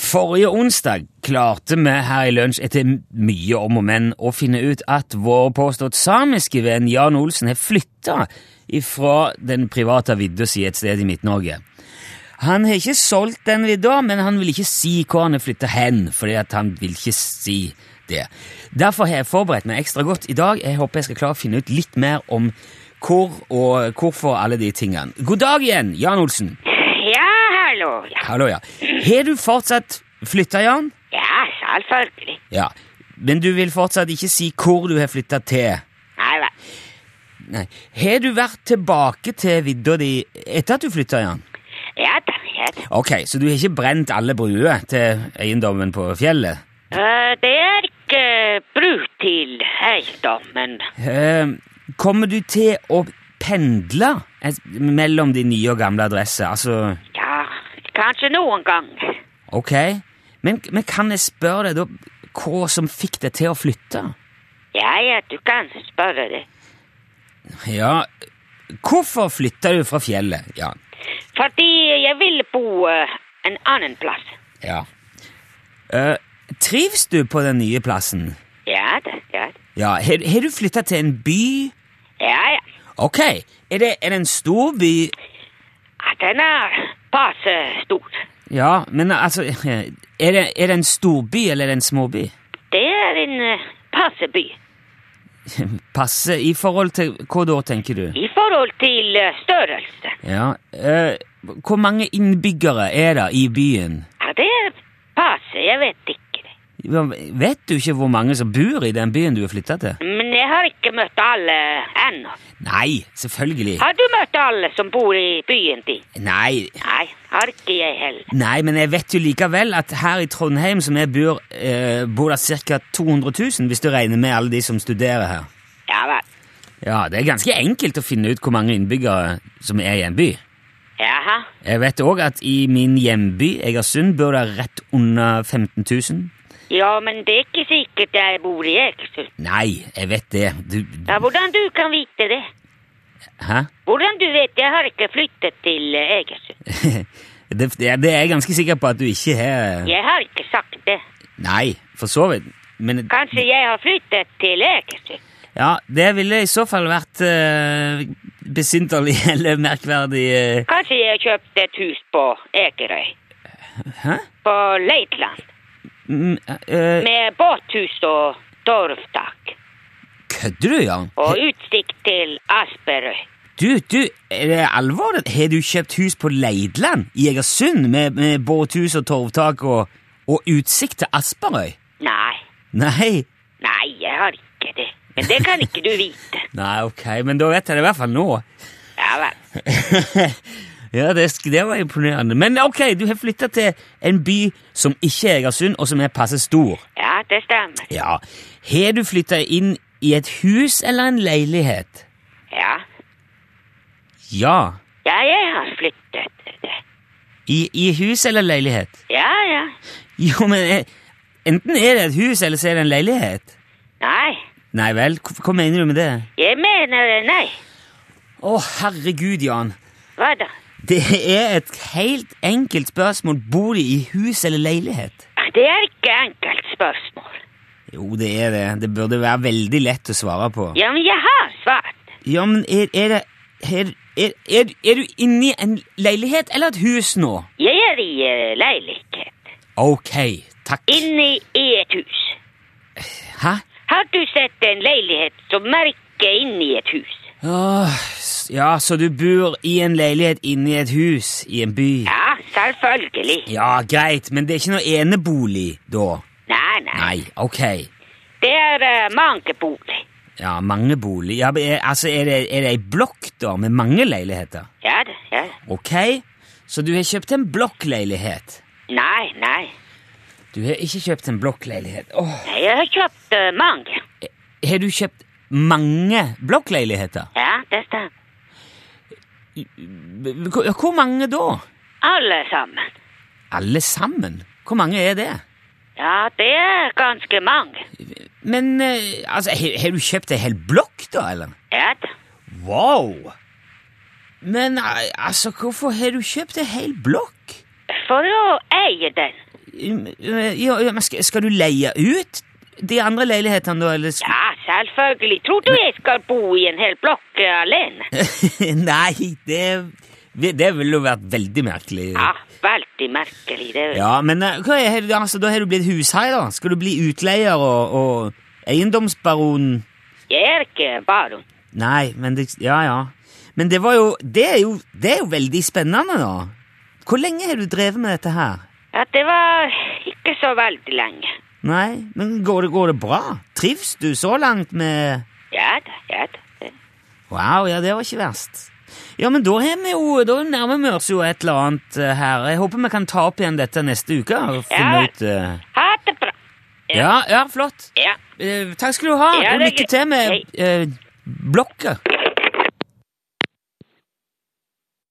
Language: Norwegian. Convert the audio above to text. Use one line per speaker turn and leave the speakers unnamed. Forrige onsdag klarte vi her i lunsj etter mye om og men å finne ut at vår påstått samiske venn Jan Olsen har flytta ifra den private vidda si et sted i Midt-Norge. Han har ikke solgt den vidda, men han vil ikke si hvor han har flytta hen, fordi at han vil ikke si det. Derfor har jeg forberedt meg ekstra godt i dag. Jeg håper jeg skal klare å finne ut litt mer om hvor og hvorfor alle de tingene. God dag igjen, Jan Olsen.
Ja, hallo. Ja,
Hallo, ja. Har du fortsatt flytta, Jan?
ja selvfølgelig.
Ja. Men du vil fortsatt ikke si hvor du har flytta til?
Nei vel.
Nei. Har du vært tilbake til vidda di etter at du flytta, Jan?
Ja da. Ja, da.
Ok, så du har ikke brent alle bruer til eiendommen på fjellet?
Eh, det er ikke bruk til eiendommen.
Eh, kommer du til å pendle eh, mellom de nye og gamle adresser? Altså,
Ja, kanskje noen gang.
ok. Men, men kan jeg spørre deg da hva som fikk deg til å flytte?
Ja, ja, du kan spørre det.
Ja, hvorfor flytta du fra fjellet, Jan?
Fordi jeg ville bo eh, en annen plass.
Ja. Eh, trives du på den nye plassen?
Ja da. Ja, da.
Ja, har, har du flytta til en by?
ja. ja.
Ok, er det, er det en stor by?
Ja, Den er passe stor.
Ja, men altså, er det, er det en storby eller er det en småby?
Det er en eh, passe by.
Passe i forhold til hva da, tenker du?
I forhold til eh, størrelse.
Ja, eh, hvor mange innbyggere er det i byen?
Ja, det er passe, jeg vet ikke det.
Ja, Vet du ikke hvor mange som bor i den byen du har flytta til?
Men jeg har ikke møtt alle ennå.
Nei, selvfølgelig.
Har du møtt alle som bor i byen din?
Nei,
Nei, har ikke jeg heller.
Nei, men jeg vet jo likevel at her i Trondheim, som jeg bor, eh, bor det ca. 200 000, hvis du regner med alle de som studerer her.
Ja vel.
Ja, det er ganske enkelt å finne ut hvor mange innbyggere som er i en by.
Jaha.
Jeg vet òg at i min hjemby, Egersund, bor det rett under 15 000.
Ja, men det er ikke sikkert jeg bor i Egersund.
Nei, jeg vet det. Du
Ja, hvordan du kan vite det?
Hæ?
Hvordan du vet jeg har ikke flyttet til eh, Egersund?
Det, det det er jeg ganske sikker på at du ikke har
Jeg har ikke sagt det.
Nei, for så vidt. Men
Kanskje jeg har flyttet til Egersund?
ja, det ville i så fall vært eh, besynderlig eller merkverdig eh,
Kanskje jeg har kjøpt et hus på Egerøy?
Hæ?
På Leitland?
Mm, eh,
Med båthus og torvtak.
Kødder du, Jan?
Og utsikt til Asperøy.
Du, du, er det alvor? Har du kjøpt hus på Leidland i Egersund med, med båthus og torvtak og, og utsikt til Asperøy?
Nei.
Nei,
Nei, jeg har ikke det. Men det kan ikke du vite.
nei, ok, men da vet jeg det i hvert fall nå.
Ja vel.
ja, det, sk- det var imponerende. Men ok, du har flytta til en by som ikke er Egersund, og som er passe stor.
Ja, det stemmer.
Ja, Har du flytta inn i et hus eller en leilighet?
Ja.
Ja.
Ja, jeg har flyttet.
I, i hus eller leilighet?
Ja, ja.
Jo, men eh, enten er det et hus, eller så er det en leilighet.
Nei,
Nei vel, hva hva mener du med det?
jeg mener nei.
Å, herregud, Jan.
Hva da?
Det er et helt enkelt spørsmål. Bor de i hus eller leilighet?
Ja, Det er ikke enkelt spørsmål.
Jo, det er det. Det burde være veldig lett å svare på.
Ja, men jeg har svart.
Ja, men er, er det er, er, er, er du inni en leilighet eller et hus nå?
Jeg er i eh, leilighet.
Ok, takk.
Inne i et hus.
Hæ?
Har du sett en leilighet som merker inne i et hus?
Åh, s- ja, så du bor i en leilighet inni et hus i en by?
Ja, selvfølgelig.
Ja, greit, men det er ikke noe enebolig da?
Nei, nei.
Nei, ok.
Det er eh, mange bolig.
Ja, mange bolig. Ja, men er, altså, er det, er det ei blokk da, med mange leiligheter?
Ja da, ja. da.
Ok, så du har kjøpt en blokkleilighet.
Nei, nei.
Du har ikke kjøpt en blokkleilighet. Åh,
Nei, Jeg har kjøpt eh, mange.
har du kjøpt mange blokkleiligheter?
Ja, det stemmer.
B- b- Hvor, hvor mange da?
Alle sammen.
Alle sammen? Hvor mange er det?
Ja, det er ganske mange.
Men, eh, altså, har, har du kjøpt ei hel blokk da, eller?
Ja, da.
Wow! Men, eh, altså, hvorfor har du kjøpt ei hel blokk? Mm, eh,
for å eie den.
Ja, ja, men skal, skal du leie ut de andre leilighetene, da? Eller sk-
Ja, selvfølgelig. Tror du jeg skal bo i en hel blokk eh, alene?
Nei, det, det ville jo vært veldig merkelig.
Ja, veldig merkelig det.
Ja, men eh, hva er, altså, da har du blitt hushai, da? Skal du bli utleier og, og eiendomsbaron?
Jeg er ikke baron.
Nei, men det, Ja, ja. Men det var jo det, er jo det er jo veldig spennende, da. Hvor lenge har du drevet med dette her?
Ja, det var ikke så veldig lenge.
Nei, men går det, går det bra? Trives du så langt med
Ja da, ja da.
Wow, ja, det var ikke verst. Ja, men da har vi jo, da nærmer vi oss jo et eller annet eh, her. Jeg håper vi kan ta opp igjen dette neste uke. og finne
Ja.
ut... eh,
Ha det bra.
Ja, ja, flott.
Ja.
Eh, takk skal du ha,
Ja,
og
det er
lykke
greit.
til med
Hei.
eh, blokka.